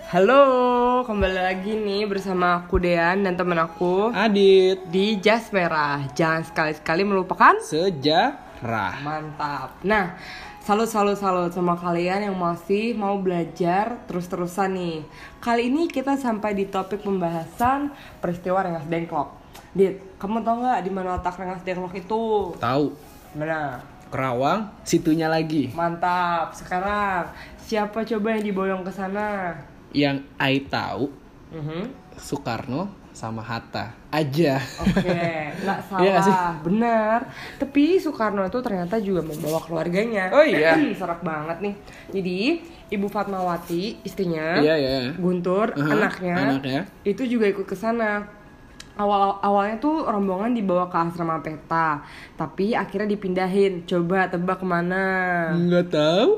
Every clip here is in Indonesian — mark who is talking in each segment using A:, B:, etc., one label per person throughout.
A: Halo, kembali lagi nih bersama aku Dean dan temen aku
B: Adit
A: di Jas Merah. Jangan sekali-sekali melupakan.
B: sejarah.
A: Mantap. Nah, salut salut salut sama kalian yang masih mau belajar terus-terusan nih. Kali ini kita sampai di topik pembahasan peristiwa Rengas Dengklok. Dit, kamu tau nggak di mana letak Rengas Dengklok itu?
B: Tahu
A: Mana?
B: Kerawang, situnya lagi
A: Mantap. Sekarang siapa coba yang diboyong ke sana?
B: yang ai tahu
A: Mhm.
B: Soekarno sama Hatta aja.
A: Oke, nggak
B: Iya nggak sih?
A: salah, benar. Tapi Soekarno itu ternyata juga membawa keluarganya.
B: Oh iya.
A: serak banget nih. Jadi Ibu Fatmawati, istrinya,
B: Iya ya.
A: Guntur,
B: Aha,
A: anaknya,
B: anaknya.
A: itu juga ikut ke sana. Awal awalnya tuh rombongan dibawa ke asrama peta, tapi akhirnya dipindahin. Coba tebak kemana?
B: Nggak tahu.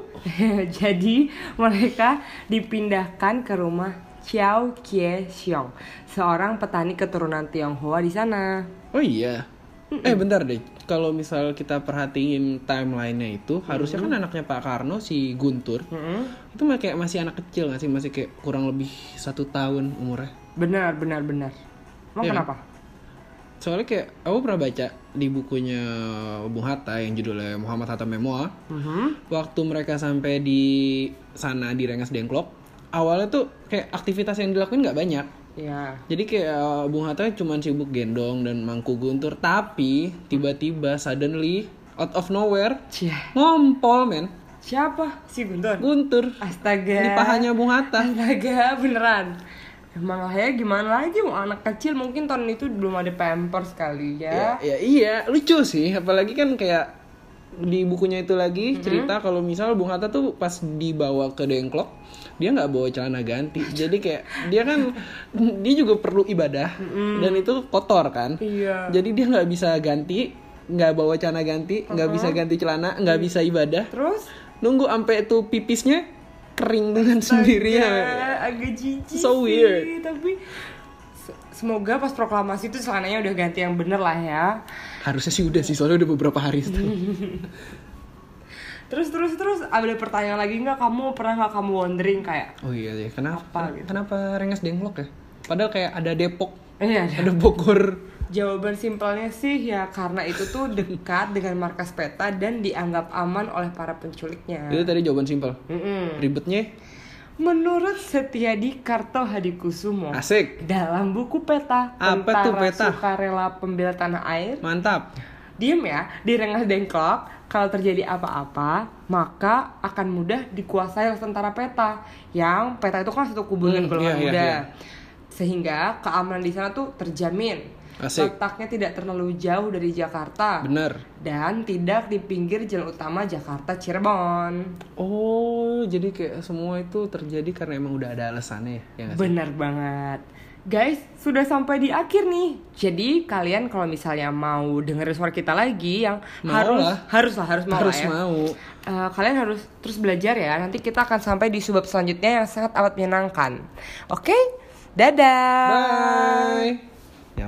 A: Jadi mereka dipindahkan ke rumah Chiao Kie Xiong, seorang petani keturunan Tionghoa di sana.
B: Oh iya. Eh bentar deh. Kalau misal kita perhatiin timelinenya itu, harusnya kan anaknya Pak Karno si Guntur itu mah kayak masih anak kecil nggak sih masih kayak kurang lebih satu tahun umurnya.
A: Benar, benar, benar. Emang
B: Iya.
A: kenapa?
B: Soalnya kayak aku pernah baca di bukunya Bung Hatta yang judulnya Muhammad Hatta Memoir. Mm-hmm.
A: Mhm.
B: waktu mereka sampai di sana di Rengas Dengklok awalnya tuh kayak aktivitas yang dilakuin nggak banyak
A: Ya.
B: jadi kayak uh, Bung Hatta cuma sibuk gendong dan mangku guntur tapi tiba-tiba suddenly out of nowhere
A: Cia.
B: ngompol men
A: Siapa? Si Guntur.
B: guntur
A: Astaga.
B: di pahanya Bung Hatta
A: Astaga, beneran. Emang lah ya gimana lagi mau anak kecil mungkin tahun itu belum ada pampers kali ya.
B: ya iya lucu sih apalagi kan kayak di bukunya itu lagi cerita kalau misal Bung Hatta tuh pas dibawa ke Dengklok dia nggak bawa celana ganti jadi kayak dia kan dia juga perlu ibadah dan itu kotor kan
A: Iya.
B: jadi dia nggak bisa ganti nggak bawa celana ganti nggak bisa
A: Uh-huh.
B: ganti celana nggak
A: Mm.
B: bisa ibadah
A: Terus
B: nunggu sampai itu pipisnya kering dengan sendirinya
A: agak- agak jijik. sih,
B: So weird.
A: Tapi se- semoga pas proklamasi itu celananya udah ganti yang bener lah ya.
B: harusnya sih udah sih soalnya udah beberapa hari itu
A: Mm. Terus terus terus ada pertanyaan lagi nggak kamu pernah nggak kamu wondering kayak
B: Oh iya deh, kenapa
A: Apa gitu?
B: kenapa Rengas Dengklok ya? Padahal kayak ada Depok,
A: Iya,
B: ada Bogor.
A: Jawaban simpelnya sih ya karena itu tuh dekat dengan markas peta dan dianggap aman oleh para
B: Itu
A: penculiknya.
B: tadi jawaban simpel.
A: Mm-mm.
B: Ribetnya
A: Menurut Setiadi Karto Hadikusumo
B: asik,
A: dalam buku peta
B: Apa
A: tentara
B: tuh peta?
A: sukarela pembela tanah air,
B: mantap.
A: diem ya di Rengas Dengklok kalau terjadi apa-apa maka akan mudah dikuasai oleh tentara peta yang peta itu kan satu kubu dengan
B: Hmm,
A: golongan
B: iya, iya,
A: muda
B: iya.
A: sehingga keamanan di sana tuh terjamin
B: Asik.
A: letaknya tidak terlalu jauh dari Jakarta
B: Bener.
A: dan tidak di pinggir jalan utama Jakarta Cirebon
B: Oh, jadi kayak semua itu terjadi karena emang udah ada alasannya ya. nggak sih?
A: Benar banget. Guys, sudah sampai di akhir nih. Jadi kalian kalau misalnya mau dengerin suara kita lagi yang
B: Mau
A: harus
B: lah.
A: harus lah harus mau
B: Harus
A: lah ya.
B: mau.
A: Eh, kalian harus terus belajar ya. Nanti kita akan sampai di subbab selanjutnya yang sangat amat menyenangkan. Oke? Dadah.
B: Bye.